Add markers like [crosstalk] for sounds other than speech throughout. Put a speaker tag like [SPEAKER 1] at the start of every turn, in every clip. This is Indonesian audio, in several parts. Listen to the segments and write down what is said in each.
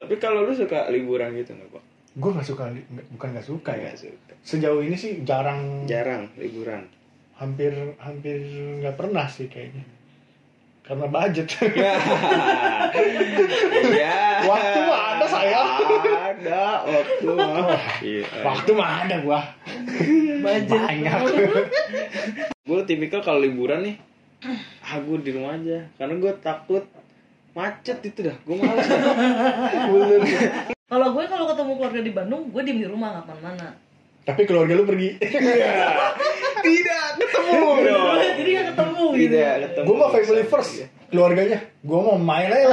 [SPEAKER 1] Tapi kalau lu suka liburan gitu nggak kok?
[SPEAKER 2] Gue nggak suka, li- nggak- bukan nggak suka ya.
[SPEAKER 1] Nggak suka. Ya.
[SPEAKER 2] Sejauh ini sih jarang,
[SPEAKER 1] Jarang
[SPEAKER 2] [laughs]
[SPEAKER 1] liburan.
[SPEAKER 2] hampir hampir nggak pernah sih kayaknya. Karena
[SPEAKER 1] [laughs]
[SPEAKER 2] budget.
[SPEAKER 1] Ya. ya.
[SPEAKER 2] Waktu mah ada, sayang.
[SPEAKER 1] Ada waktu mah. Iya.
[SPEAKER 2] Waktu mah ada gua. Banyak.
[SPEAKER 1] Gue tipikal kalau liburan nih, ah gue di rumah aja. Karena gue takut macet itu dah. Gue malas.
[SPEAKER 2] Bener.
[SPEAKER 3] Kalau gue kalau ketemu keluarga di Bandung, gue diem di rumah nggak kemana-mana.
[SPEAKER 2] Tapi keluarga lu pergi.
[SPEAKER 1] Tidak ketemu dong.
[SPEAKER 3] [laughs] Jadi nggak ketemu gitu.
[SPEAKER 1] Tidak ketemu.
[SPEAKER 2] gue mah
[SPEAKER 1] Iya.
[SPEAKER 2] family first. Keluarganya, gue mau main
[SPEAKER 1] [laughs]
[SPEAKER 2] aja.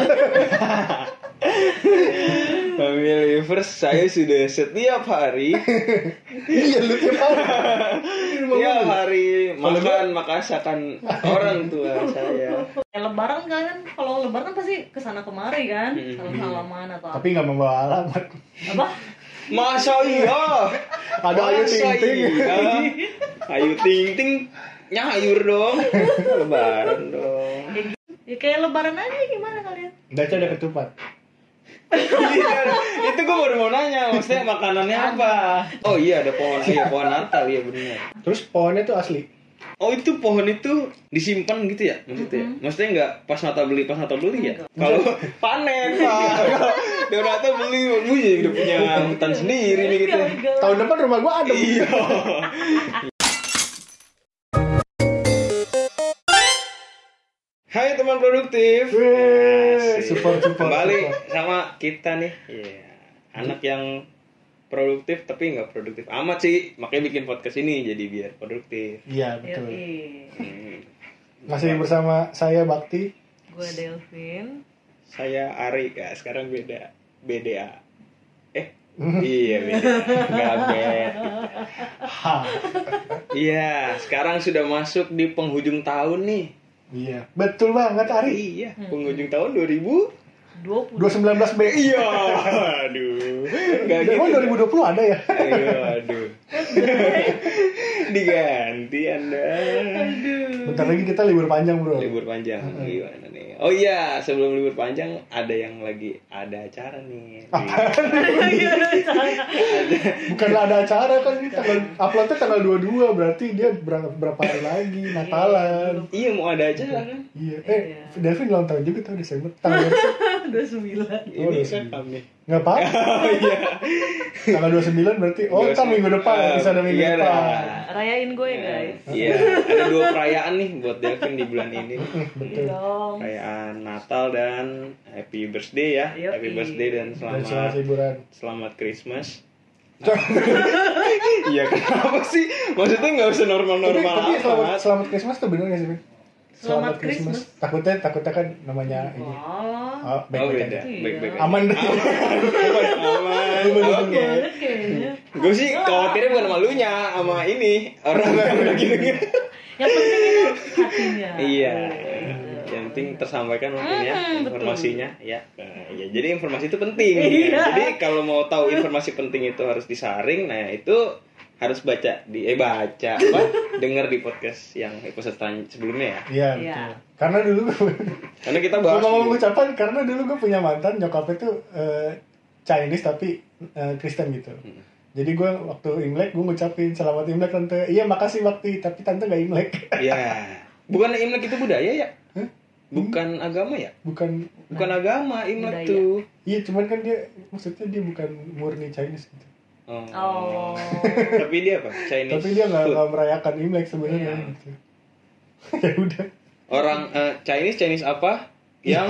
[SPEAKER 1] Family first saya sudah setiap hari
[SPEAKER 2] iya lu tiap hari. Di
[SPEAKER 1] Tiap
[SPEAKER 2] rumah gua.
[SPEAKER 1] Iya, hari makan maka masakan orang tua saya
[SPEAKER 3] Ya, lebaran kan, kan kalau lebaran kan pasti kesana kemari kan,
[SPEAKER 1] Hmm.
[SPEAKER 3] salam salaman atau apa.
[SPEAKER 1] [laughs]
[SPEAKER 2] Tapi nggak membawa alamat.
[SPEAKER 3] apa?
[SPEAKER 1] Masa iya?
[SPEAKER 2] Ada Ayu
[SPEAKER 1] Masa
[SPEAKER 2] Ting Ting.
[SPEAKER 1] iya? Ayu Ting Ting nyayur dong. Lebaran dong.
[SPEAKER 3] Ya kayak lebaran aja gimana kalian?
[SPEAKER 2] Daca ada ketupat.
[SPEAKER 1] Iya, itu gue baru mau nanya, maksudnya makanannya apa? Oh iya ada pohon, iya pohon Natal iya benar.
[SPEAKER 2] Terus pohonnya tuh asli.
[SPEAKER 1] Oh itu pohon itu disimpan gitu ya maksudnya? ya? Maksudnya nggak pas Natal beli pas Natal beli ya? Kalau panen pak, Kalau Natal beli bunyi udah punya hutan sendiri nih gitu.
[SPEAKER 3] Gagal.
[SPEAKER 2] Tahun depan rumah gua ada.
[SPEAKER 1] Iya. Hai teman produktif.
[SPEAKER 2] Weh, support support.
[SPEAKER 1] Iya Kembali
[SPEAKER 2] support.
[SPEAKER 1] sama kita nih. Iya. Anak yang produktif tapi nggak produktif amat sih. Makanya bikin podcast ini jadi biar produktif.
[SPEAKER 2] Iya
[SPEAKER 3] Yoi.
[SPEAKER 2] betul. Masih bersama saya Bakti.
[SPEAKER 3] Gue Delvin.
[SPEAKER 1] Saya Ari ya, sekarang beda BDA. Eh, iya beda. Gabet.
[SPEAKER 2] Ha.
[SPEAKER 1] Iya, sekarang sudah masuk di penghujung tahun nih.
[SPEAKER 2] Iya, betul banget Ari.
[SPEAKER 1] Iya, penghujung tahun 2000
[SPEAKER 3] 20
[SPEAKER 2] 219 B.
[SPEAKER 1] Iya, aduh. Gak gitu.
[SPEAKER 2] Emang 2020 ada ya?
[SPEAKER 1] Ayo, aduh. Diganti Anda.
[SPEAKER 2] Bentar lagi kita libur panjang, Bro.
[SPEAKER 1] Libur panjang gimana nih? Oh iya, sebelum libur panjang ada yang lagi ada acara nih.
[SPEAKER 2] Bukanlah ada acara kan ini tanggal uploadnya tanggal 22 berarti dia berapa, berapa hari lagi Natalan.
[SPEAKER 1] Iya, mau ada acara kan?
[SPEAKER 2] Iya. Eh, Delvin ulang tahun juga tuh Desember. Tanggal berapa?
[SPEAKER 3] 29.
[SPEAKER 2] Oh,
[SPEAKER 1] Ini
[SPEAKER 2] iya.
[SPEAKER 1] kan kami.
[SPEAKER 2] Enggak apa?
[SPEAKER 1] Oh iya.
[SPEAKER 2] Tanggal 29 berarti oh kan minggu depan
[SPEAKER 1] Ah,
[SPEAKER 2] bisa ada minggu
[SPEAKER 1] iya
[SPEAKER 2] depan.
[SPEAKER 1] lah.
[SPEAKER 3] Rayain gue guys.
[SPEAKER 1] Iya, ada dua perayaan nih buat Delvin di bulan ini.
[SPEAKER 3] Iya dong.
[SPEAKER 1] Perayaan Natal dan Happy Birthday ya.
[SPEAKER 3] Yoi.
[SPEAKER 1] Happy Birthday dan
[SPEAKER 2] Dan selamat
[SPEAKER 1] selamat
[SPEAKER 2] liburan.
[SPEAKER 1] selamat Christmas. Iya kenapa sih? Maksudnya nggak usah
[SPEAKER 2] Tapi,
[SPEAKER 1] normal-normal
[SPEAKER 2] tapi selamat,
[SPEAKER 1] amat.
[SPEAKER 2] selamat Christmas tuh bener gak sih, Bin?
[SPEAKER 3] Selamat Christmas.
[SPEAKER 2] Takutnya takutnya kan namanya ini.
[SPEAKER 3] Wah.
[SPEAKER 2] Oh,
[SPEAKER 1] Oh beda,
[SPEAKER 2] baik-baik aja.
[SPEAKER 3] Iya.
[SPEAKER 1] baik-baik. aja.
[SPEAKER 2] Aman deh.
[SPEAKER 1] Aman, oke.
[SPEAKER 3] Banget kayaknya.
[SPEAKER 1] Gue sih khawatirnya bukan sama lu nya, sama ini orang yang lagi denger.
[SPEAKER 3] Yang penting itu hatinya.
[SPEAKER 1] Iya. Yang penting tersampaikan mungkin ya
[SPEAKER 3] Hmm, betul.
[SPEAKER 1] informasinya ya. Nah, ya. Jadi informasi itu penting. Gitu.
[SPEAKER 3] Iya.
[SPEAKER 1] Jadi kalau mau tahu informasi penting itu harus disaring. Nah itu harus baca di eh baca apa dengar di podcast yang episode selan- sebelumnya ya.
[SPEAKER 2] Iya,
[SPEAKER 3] Iya.
[SPEAKER 2] betul. Karena dulu
[SPEAKER 1] Karena kita
[SPEAKER 2] Gue
[SPEAKER 1] bahas
[SPEAKER 2] ngomong
[SPEAKER 1] dulu.
[SPEAKER 2] ucapan karena dulu gue punya mantan nyokapnya tuh eh, Chinese tapi eh, Kristen gitu.
[SPEAKER 1] Hmm.
[SPEAKER 2] Jadi gue waktu Imlek gue ngucapin selamat Imlek tante. Iya makasih bakti tapi tante gak Imlek. [laughs]
[SPEAKER 1] Ya. Bukan Imlek itu budaya ya? Bukan agama ya?
[SPEAKER 2] Bukan.
[SPEAKER 1] Bukan agama Imlek
[SPEAKER 3] Budaya.
[SPEAKER 1] tuh.
[SPEAKER 2] Iya cuman kan dia maksudnya dia bukan murni Chinese gitu.
[SPEAKER 1] Oh.
[SPEAKER 3] Oh.
[SPEAKER 1] Tapi dia apa? Chinese.
[SPEAKER 2] tapi dia nggak
[SPEAKER 1] food.
[SPEAKER 2] nggak merayakan Imlek sebenarnya
[SPEAKER 3] Iya.
[SPEAKER 2] gitu. [laughs] ya udah.
[SPEAKER 1] Orang eh, Chinese Chinese apa? Yang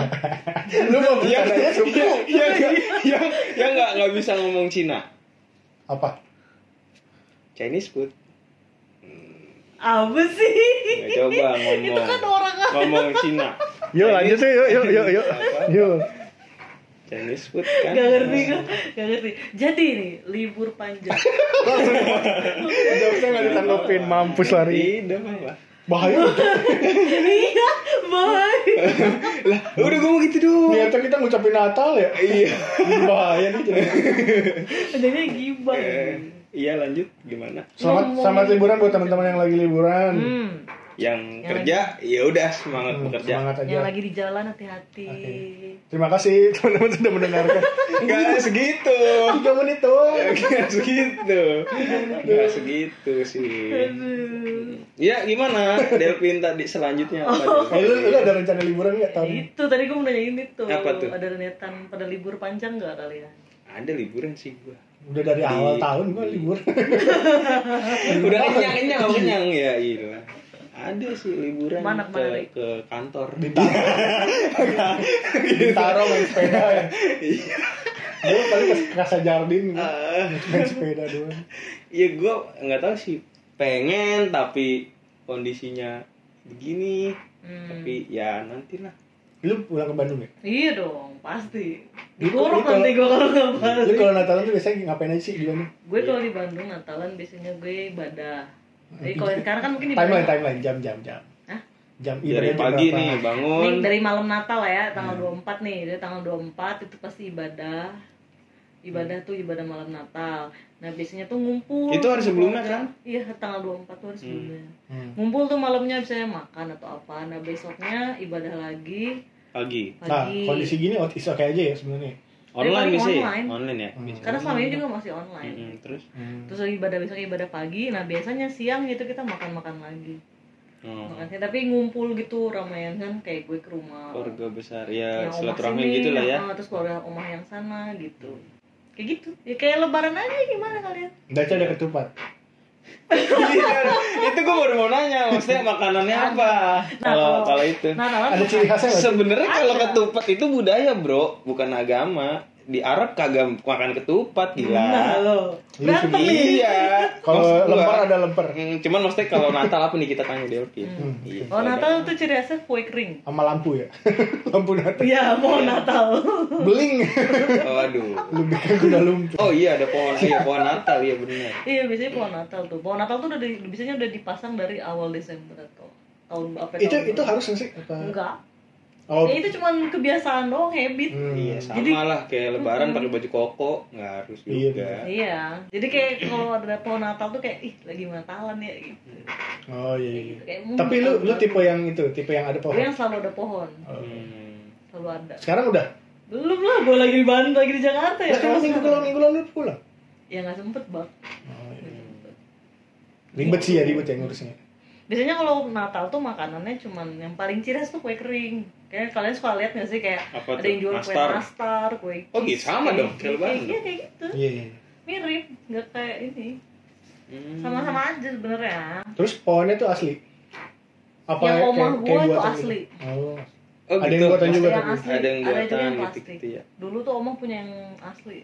[SPEAKER 2] Lu mau
[SPEAKER 1] yang
[SPEAKER 2] bercanda ya sumpah.
[SPEAKER 1] yang yang yang yang nggak nggak bisa ngomong Cina.
[SPEAKER 2] Apa?
[SPEAKER 1] Chinese food.
[SPEAKER 3] Apa sih?
[SPEAKER 1] Nggak coba ngomong.
[SPEAKER 3] Itu kan orang
[SPEAKER 1] ngomong Cina.
[SPEAKER 2] Yuk lanjut yuk yuk yuk yuk. Yuk.
[SPEAKER 1] Chinese food kan.
[SPEAKER 3] Gak ngerti gue, gak ngerti. Jadi nih, libur panjang. [laughs]
[SPEAKER 2] Jawabnya nggak ditanggepin mampus lari.
[SPEAKER 1] Tidak apa.
[SPEAKER 2] Bahaya.
[SPEAKER 3] iya, bye.
[SPEAKER 1] Lah, udah gue mau gitu doang.
[SPEAKER 2] Niatnya kita ngucapin Natal ya.
[SPEAKER 1] Iya.
[SPEAKER 2] Bahaya nih jadi.
[SPEAKER 3] Adanya gibah.
[SPEAKER 1] Eh, Iya lanjut gimana?
[SPEAKER 2] Selamat selamat liburan buat teman-teman yang lagi liburan.
[SPEAKER 3] Hmm.
[SPEAKER 1] yang kerja ya udah semangat
[SPEAKER 2] Hmm,
[SPEAKER 1] bekerja
[SPEAKER 2] Semangat aja.
[SPEAKER 3] yang lagi di jalan hati-hati
[SPEAKER 2] Terima kasih [laughs] teman-teman sudah mendengarkan.
[SPEAKER 1] enggak harus segitu
[SPEAKER 2] Tiga menit doang.
[SPEAKER 1] enggak segitu enggak segitu sih
[SPEAKER 3] Aduh. Oh.
[SPEAKER 1] ya gimana Delvin tadi selanjutnya apa Del?
[SPEAKER 2] Eh, lu, lu ada rencana liburan nggak tahun ini?
[SPEAKER 3] itu tadi gue mau nanyain itu
[SPEAKER 1] Apa tuh?
[SPEAKER 3] ada niatan pada libur panjang nggak ya? kalian
[SPEAKER 1] ada liburan sih gua
[SPEAKER 2] Udah dari awal tahun gua libur.
[SPEAKER 1] udah kenyang kenyang nggak kenyang ya iya ada sih liburan
[SPEAKER 3] Kemana,
[SPEAKER 1] ke,
[SPEAKER 3] kemana, Rik?
[SPEAKER 1] ke kantor
[SPEAKER 2] Bintaro main sepeda ya.
[SPEAKER 1] Iya.
[SPEAKER 2] Gue paling ke Rasa Jardin gua.
[SPEAKER 1] Eh,
[SPEAKER 2] main sepeda doang.
[SPEAKER 1] ya gua nggak tahu sih pengen tapi kondisinya begini
[SPEAKER 3] Hmm.
[SPEAKER 1] tapi ya nantilah
[SPEAKER 2] Lu pulang ke Bandung ya?
[SPEAKER 3] iya dong pasti
[SPEAKER 2] Itu-
[SPEAKER 3] digorok
[SPEAKER 2] itu- Hmm.
[SPEAKER 3] nanti gue kalau nggak pas
[SPEAKER 2] Lu kalau Natalan tuh biasanya ngapain aja sih di Bandung?
[SPEAKER 3] gue kalau di Bandung Natalan biasanya gue ibadah jadi kalau sekarang kan mungkin
[SPEAKER 2] Timeline, timeline, jam, jam, jam.
[SPEAKER 3] Hah?
[SPEAKER 2] Jam
[SPEAKER 1] dari
[SPEAKER 2] ibadahnya
[SPEAKER 1] pagi
[SPEAKER 2] Iya, berapa?
[SPEAKER 1] nih bangun
[SPEAKER 3] Ini dari malam Natal lah ya, tanggal
[SPEAKER 1] Iya.
[SPEAKER 3] 24 nih. Jadi tanggal 24 itu pasti ibadah. Ibadah tuh ibadah malam Natal. Nah, biasanya tuh ngumpul.
[SPEAKER 1] Iya. Itu hari sebelumnya kan?
[SPEAKER 3] Iya, tanggal 24 tuh hari sebelumnya.
[SPEAKER 2] Hmm.
[SPEAKER 3] Ngumpul tuh malamnya biasanya makan atau apa. Nah, besoknya ibadah lagi
[SPEAKER 1] pagi
[SPEAKER 2] Nah,
[SPEAKER 3] pagi.
[SPEAKER 2] kondisi gini otis oke aja ya sebenarnya.
[SPEAKER 1] online
[SPEAKER 3] paling
[SPEAKER 1] bisa ya?
[SPEAKER 3] online.
[SPEAKER 1] online ya bisa
[SPEAKER 3] Karena selama ini juga masih online.
[SPEAKER 1] Mm-mm, terus
[SPEAKER 3] Terus ibadah besok ibadah pagi. Nah, biasanya siang gitu kita makan-makan lagi.
[SPEAKER 1] oh,
[SPEAKER 3] Makan siang. tapi ngumpul gitu ramean kan kayak gue ke rumah.
[SPEAKER 1] keluarga besar ya
[SPEAKER 3] omah
[SPEAKER 1] silaturahmi
[SPEAKER 3] sini,
[SPEAKER 1] gitu lah ya
[SPEAKER 3] ah, terus keluarga omah yang sana gitu kayak gitu ya kayak lebaran aja gimana kalian
[SPEAKER 2] Daca ada ketupat.
[SPEAKER 1] ya. [laughs] itu gue baru mau nanya maksudnya makanannya apa kalau kalau itu
[SPEAKER 3] nah Nalan
[SPEAKER 2] Ada ciri khasnya nggak? sih?
[SPEAKER 1] Sebenarnya kalau ketupat itu budaya bro, bukan agama. Di Arab kagak makan ketupat
[SPEAKER 3] nah
[SPEAKER 1] gila.
[SPEAKER 3] lo berantem nih
[SPEAKER 1] iya.
[SPEAKER 2] Kalau
[SPEAKER 1] Maksud gua-
[SPEAKER 2] lempar ada lempar.
[SPEAKER 1] Hmm, Cuman maksudnya kalau Natal apa nih kita tanya Delvin. Iya.
[SPEAKER 3] oh Natal tuh ciri khasnya kue kering
[SPEAKER 2] Sama lampu ya. [laughs] lampu
[SPEAKER 3] [laughs]
[SPEAKER 2] Natal.
[SPEAKER 3] Iya, mau Natal.
[SPEAKER 2] Beling.
[SPEAKER 1] Waduh.
[SPEAKER 2] Lebih ke kuda lumpur.
[SPEAKER 1] Oh iya ada pohon, iya pohon Natal iya benar.
[SPEAKER 3] [laughs] iya, biasanya pohon Natal tuh. Pohon Natal tuh udah di- biasanya udah dipasang dari awal Desember atau tahun apa
[SPEAKER 2] Itu
[SPEAKER 3] tahun
[SPEAKER 2] itu harus nggak sih apa?
[SPEAKER 3] enggak.
[SPEAKER 2] Oh,
[SPEAKER 3] Ya, itu cuman kebiasaan doang, habit.
[SPEAKER 2] Hmm.
[SPEAKER 1] Iya sama
[SPEAKER 3] Jadi- Hmm.
[SPEAKER 1] lah kayak Lebaran pakai baju koko nggak harus
[SPEAKER 2] Iya,
[SPEAKER 1] juga.
[SPEAKER 3] Iya. Jadi kayak kalau ada pohon Natal tuh kayak ih lagi Natalan ya gitu.
[SPEAKER 2] Oh iya. iya.
[SPEAKER 3] Kayak Iya.
[SPEAKER 2] Tapi lu lu tipe yang itu, tipe yang ada
[SPEAKER 3] Gue
[SPEAKER 2] pohon. Oh, iya.
[SPEAKER 3] yang selalu ada pohon,
[SPEAKER 1] Hmm.
[SPEAKER 3] selalu ada.
[SPEAKER 2] Sekarang udah.
[SPEAKER 3] Belum lah, gue lagi di Bandung, lagi di Jakarta ya.
[SPEAKER 2] Terus kan minggu lalu minggu lalu pulang.
[SPEAKER 3] Ya nggak sempet bang.
[SPEAKER 2] Oh, iya. Ribet sih ya ribet ya ngurusnya.
[SPEAKER 3] Biasanya kalau Natal tuh makanannya cuman yang paling ciri khas tuh kue kering. Kayak kalian suka lihat nggak sih kayak
[SPEAKER 1] Apa
[SPEAKER 3] ada
[SPEAKER 1] tuh?
[SPEAKER 3] yang jual
[SPEAKER 1] Nastar?
[SPEAKER 3] kue nastar, kue
[SPEAKER 1] Oh, gitu, sama
[SPEAKER 3] kayak-
[SPEAKER 1] dong, kayak Lebaran
[SPEAKER 3] Iya
[SPEAKER 1] dong.
[SPEAKER 3] kayak gitu,
[SPEAKER 2] Iya iya.
[SPEAKER 3] mirip, nggak kayak ini.
[SPEAKER 1] Hmm.
[SPEAKER 3] Sama-sama aja sebenarnya.
[SPEAKER 2] Terus pohonnya tuh asli. Apa
[SPEAKER 3] Yang omah
[SPEAKER 2] kayak, kayak
[SPEAKER 3] gua tuh
[SPEAKER 2] buatan
[SPEAKER 3] asli.
[SPEAKER 2] gitu? Oh.
[SPEAKER 1] Oh,
[SPEAKER 2] Ada
[SPEAKER 1] gitu.
[SPEAKER 2] yang buatan juga
[SPEAKER 3] yang
[SPEAKER 2] tapi.
[SPEAKER 3] asli,
[SPEAKER 1] Ada yang
[SPEAKER 3] ada juga yang
[SPEAKER 1] buatan
[SPEAKER 3] plastik.
[SPEAKER 1] gitu-gitu ya.
[SPEAKER 3] Dulu tuh omong punya yang asli.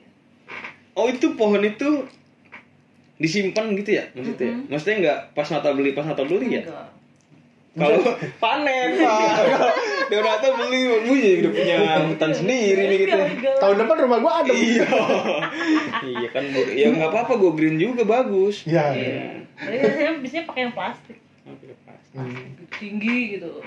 [SPEAKER 1] Oh itu pohon itu disimpan gitu ya maksudnya?
[SPEAKER 3] Mm-mm.
[SPEAKER 1] ya? Maksudnya nggak pas Natal beli pas Natal beli ya?
[SPEAKER 3] Enggak.
[SPEAKER 1] Kalau [laughs] panen pak,
[SPEAKER 2] [laughs]
[SPEAKER 1] Kalau Donato beli bunyi udah punya
[SPEAKER 2] Iya.
[SPEAKER 1] hutan sendiri nih gitu.
[SPEAKER 3] Gagal.
[SPEAKER 2] Tahun depan rumah gua ada.
[SPEAKER 1] Iya, iya kan bu, ya nggak apa-apa gue green juga bagus.
[SPEAKER 2] Iya.
[SPEAKER 3] Tapi biasanya biasanya pakai yang plastik,
[SPEAKER 2] Hmm.
[SPEAKER 3] tinggi gitu.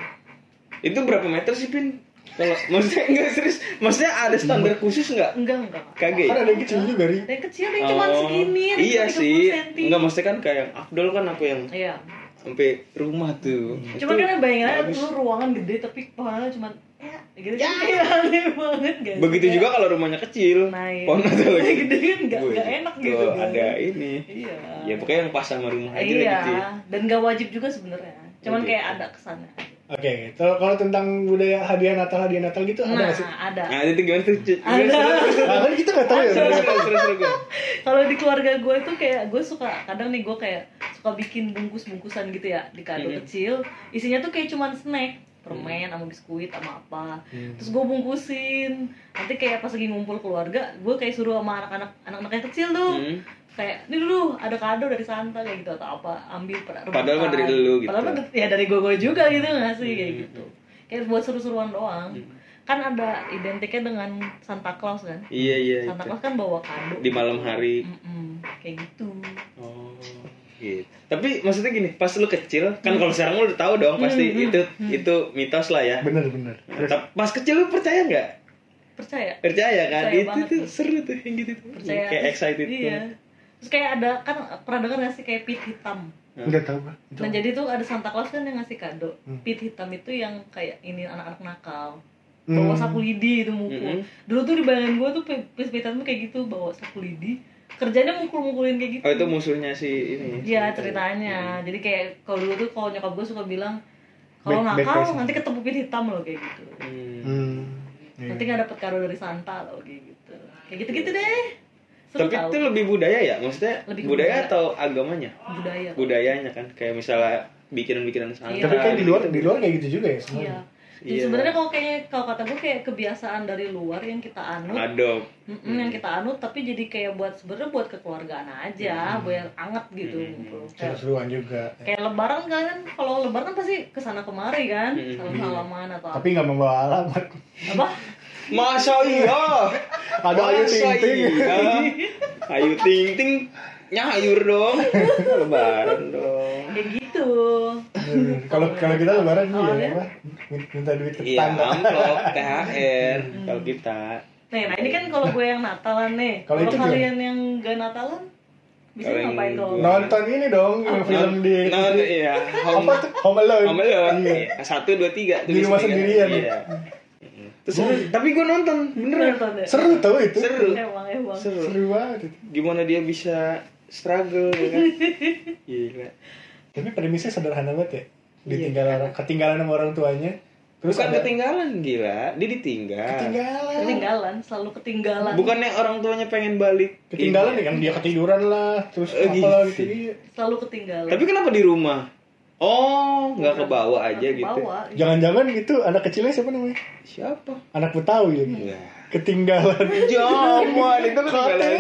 [SPEAKER 1] Itu berapa meter sih pin? Kalau maksudnya enggak serius, maksudnya ada standar khusus nggak?
[SPEAKER 3] Enggak, enggak.
[SPEAKER 1] Kagak
[SPEAKER 2] Kan
[SPEAKER 1] ya?
[SPEAKER 2] ada yang
[SPEAKER 3] Iya.
[SPEAKER 2] kecil juga ri.
[SPEAKER 3] Ada yang kecil ada yang cuma
[SPEAKER 1] Oh,
[SPEAKER 3] segini, ada yang
[SPEAKER 1] Iya
[SPEAKER 3] cuma 30
[SPEAKER 1] sih,
[SPEAKER 3] senti.
[SPEAKER 1] nggak maksudnya kan kayak yang Abdul kan apa yang
[SPEAKER 3] Iya.
[SPEAKER 1] sampai rumah tuh.
[SPEAKER 3] Cuma
[SPEAKER 1] Itu
[SPEAKER 3] kan bayangannya
[SPEAKER 1] bagus.
[SPEAKER 3] dulu ruangan gede tapi pohonnya cuma ya gitu. Ya, [laughs] aneh banget guys.
[SPEAKER 1] Begitu juga kalau rumahnya kecil,
[SPEAKER 3] Iya Naik.
[SPEAKER 1] pohon Natal lagi
[SPEAKER 3] gede kan enggak
[SPEAKER 1] Wih,
[SPEAKER 3] enggak enak gitu.
[SPEAKER 1] tuh,
[SPEAKER 3] kan.
[SPEAKER 1] Ada ini.
[SPEAKER 3] Iya.
[SPEAKER 1] Ya pokoknya yang pas sama rumah aja lah
[SPEAKER 3] Iya,
[SPEAKER 1] gitu. ya.
[SPEAKER 3] dan gak wajib juga sebenarnya. Cuman kayak ada kesannya.
[SPEAKER 2] Oke, kalau kalau tentang budaya hadiah Natal hadiah Natal gitu ada
[SPEAKER 3] Nah,
[SPEAKER 2] nggak sih?
[SPEAKER 3] ada.
[SPEAKER 1] Nah itu gimana tuh? Cut?
[SPEAKER 3] Ada.
[SPEAKER 1] Gimana, seru,
[SPEAKER 2] Nah, kan kita nggak tahu ya.
[SPEAKER 1] Seru seru seru seru
[SPEAKER 3] [laughs]
[SPEAKER 1] gue.
[SPEAKER 3] kalau di keluarga gue tuh kayak gue suka kadang nih gue kayak suka bikin bungkus-bungkusan gitu ya
[SPEAKER 1] Iya.
[SPEAKER 3] di kado kecil isinya tuh kayak cuman snack permen sama biskuit sama apa
[SPEAKER 1] Iya.
[SPEAKER 3] terus gue bungkusin nanti kayak pas lagi ngumpul keluarga gue kayak suruh sama anak-anak anak-anak yang kecil tuh
[SPEAKER 1] Hmm.
[SPEAKER 3] kayak ini dulu ada kado dari Santa kayak gitu atau apa ambil pada rebutan.
[SPEAKER 1] Padahal mah dari lu gitu. Hmm.
[SPEAKER 3] padahal mah de- ya dari gue gue juga gitu nggak sih kayak gitu kayak buat seru-seruan doang kan ada identiknya dengan Santa Claus kan
[SPEAKER 1] Iya iya.
[SPEAKER 3] Santa Claus kan bawa kado
[SPEAKER 1] Di malam hari.
[SPEAKER 3] Mm-mm, kayak gitu
[SPEAKER 1] Oh. Gitu. Tapi maksudnya gini, pas lu kecil kan
[SPEAKER 3] Hmm.
[SPEAKER 1] kalau sekarang lu udah tahu dong pasti itu itu mitos lah ya.
[SPEAKER 2] Bener bener.
[SPEAKER 1] Tapi pas kecil lu percaya nggak?
[SPEAKER 3] percaya
[SPEAKER 1] Percaya kan?
[SPEAKER 3] Percaya
[SPEAKER 1] itu
[SPEAKER 3] banget
[SPEAKER 1] tuh
[SPEAKER 3] tuh.
[SPEAKER 1] seru tuh yang gitu tuh.
[SPEAKER 3] percaya
[SPEAKER 1] Kayak
[SPEAKER 3] Terus-
[SPEAKER 1] excited
[SPEAKER 3] iya
[SPEAKER 1] tuh.
[SPEAKER 3] terus kayak ada kan pernah dengar nggak sih kayak pit hitam
[SPEAKER 2] nggak tahu gua. Itu
[SPEAKER 3] Nah jadi tuh ada Santa Claus kan yang ngasih kado.
[SPEAKER 2] Hmm.
[SPEAKER 3] Pit hitam itu yang kayak ini anak-anak nakal.
[SPEAKER 2] Hmm.
[SPEAKER 3] Bawa sapu lidi itu mukul.
[SPEAKER 1] Mm-mm.
[SPEAKER 3] Dulu tuh di bayangan gue tuh pit hitam tuh kayak gitu bawa sapu lidi. Kerjanya mukul-mukulin kayak gitu.
[SPEAKER 1] Oh itu Hmm. musuhnya si ini.
[SPEAKER 3] Iya ceritanya. Jadi kayak kalau dulu tuh kalau nyokap gue suka bilang kalau
[SPEAKER 2] Back-
[SPEAKER 3] nakal
[SPEAKER 2] backpacking.
[SPEAKER 3] nanti ketemu pit hitam loh kayak gitu.
[SPEAKER 1] Hmm.
[SPEAKER 2] Hmm. Iya.
[SPEAKER 3] Nanti nggak dapet kado dari Santa loh kayak gitu. Kayak gitu-gitu deh.
[SPEAKER 1] Iya,
[SPEAKER 3] Seru
[SPEAKER 1] Tapi
[SPEAKER 3] tau.
[SPEAKER 1] itu lebih budaya ya, maksudnya
[SPEAKER 3] Lebih ke budaya.
[SPEAKER 1] budaya atau agamanya?
[SPEAKER 3] budaya.
[SPEAKER 1] Budayanya kan, kayak misalnya bikinan-bikinan santai.
[SPEAKER 3] Iya.
[SPEAKER 2] Tapi kayak di luar di luar kayak gitu juga ya semua.
[SPEAKER 3] Iya. Jadi
[SPEAKER 1] Iya.
[SPEAKER 3] sebenarnya kalau kayaknya kalau kata gue kayak kebiasaan dari luar yang kita anut,
[SPEAKER 1] Adop.
[SPEAKER 3] mm-mm, yang kita anut tapi jadi kayak buat sebenarnya buat kekeluargaan
[SPEAKER 1] Iya.
[SPEAKER 3] aja, buat yang anget gitu. ngumpul. Kayak,
[SPEAKER 2] Seru-seruan juga.
[SPEAKER 3] kayak lebaran kalian kalau lebaran pasti kesana kemari kan,
[SPEAKER 1] Mm-mm.
[SPEAKER 3] salam-salaman atau apa.
[SPEAKER 2] Tapi nggak membawa
[SPEAKER 3] [laughs]
[SPEAKER 2] alamat.
[SPEAKER 3] apa?
[SPEAKER 1] Masa iya?
[SPEAKER 2] Ada ayu ting ting.
[SPEAKER 1] iya? Ayu ting ting nyayur
[SPEAKER 3] [laughs]
[SPEAKER 1] dong. Lebaran dong.
[SPEAKER 3] Ya gitu.
[SPEAKER 2] [laughs] Kalau kalau kita lebaran
[SPEAKER 3] Awalnya.
[SPEAKER 2] iya apa? Minta duit ke
[SPEAKER 1] Iya,
[SPEAKER 2] tetangga.
[SPEAKER 1] amplop THR
[SPEAKER 3] Hmm.
[SPEAKER 1] kalau kita.
[SPEAKER 3] Nih, nah ini kan kalau gue yang Natalan nih.
[SPEAKER 2] Kalau
[SPEAKER 3] Kalau
[SPEAKER 2] itu
[SPEAKER 3] kalian yang gak Natalan, bisa
[SPEAKER 1] Kalau yang
[SPEAKER 3] ngapain kalau?
[SPEAKER 1] gue-
[SPEAKER 2] Nonton ini dong
[SPEAKER 3] Ah,
[SPEAKER 2] film di
[SPEAKER 1] Non,
[SPEAKER 2] di-
[SPEAKER 1] iya. Home,
[SPEAKER 2] apa tuh? Home Alone.
[SPEAKER 1] home alone.
[SPEAKER 2] Iya.
[SPEAKER 1] Iya, Satu, dua, tiga. tuh
[SPEAKER 2] Di rumah
[SPEAKER 1] biasanya.
[SPEAKER 2] sendirian.
[SPEAKER 1] Iya. Terus, tapi gue nonton, beneran.
[SPEAKER 3] Nonton deh.
[SPEAKER 2] Seru tau itu.
[SPEAKER 1] Seru.
[SPEAKER 3] Emang emang.
[SPEAKER 1] Seru.
[SPEAKER 2] Seru banget. itu.
[SPEAKER 1] Gimana dia bisa struggle ya
[SPEAKER 2] [laughs]
[SPEAKER 1] kan? Gila.
[SPEAKER 2] Tapi premisnya sederhana
[SPEAKER 3] Iya.
[SPEAKER 2] banget ya. Ditinggal orang, ketinggalan sama orang tuanya. Terus
[SPEAKER 1] Bukan
[SPEAKER 2] ada-
[SPEAKER 1] ketinggalan gila, dia ditinggal.
[SPEAKER 2] ketinggalan.
[SPEAKER 3] Ketinggalan, selalu ketinggalan.
[SPEAKER 1] Bukannya orang tuanya pengen balik.
[SPEAKER 2] Ketinggalan ya kan dia ketiduran lah, terus
[SPEAKER 1] Eh,
[SPEAKER 2] apa
[SPEAKER 1] Iya. gitu.
[SPEAKER 2] gitu. Iya.
[SPEAKER 3] Selalu ketinggalan.
[SPEAKER 1] Tapi kenapa di rumah? Oh, nggak ke bawah aja
[SPEAKER 3] Ke
[SPEAKER 1] gitu.
[SPEAKER 3] bawah, iya.
[SPEAKER 2] Jangan-jangan gitu anak kecilnya siapa namanya?
[SPEAKER 1] Siapa?
[SPEAKER 2] Anak Betawi lagi.
[SPEAKER 1] Iya.
[SPEAKER 2] Ketinggalan.
[SPEAKER 1] Jamuan itu ketinggalan.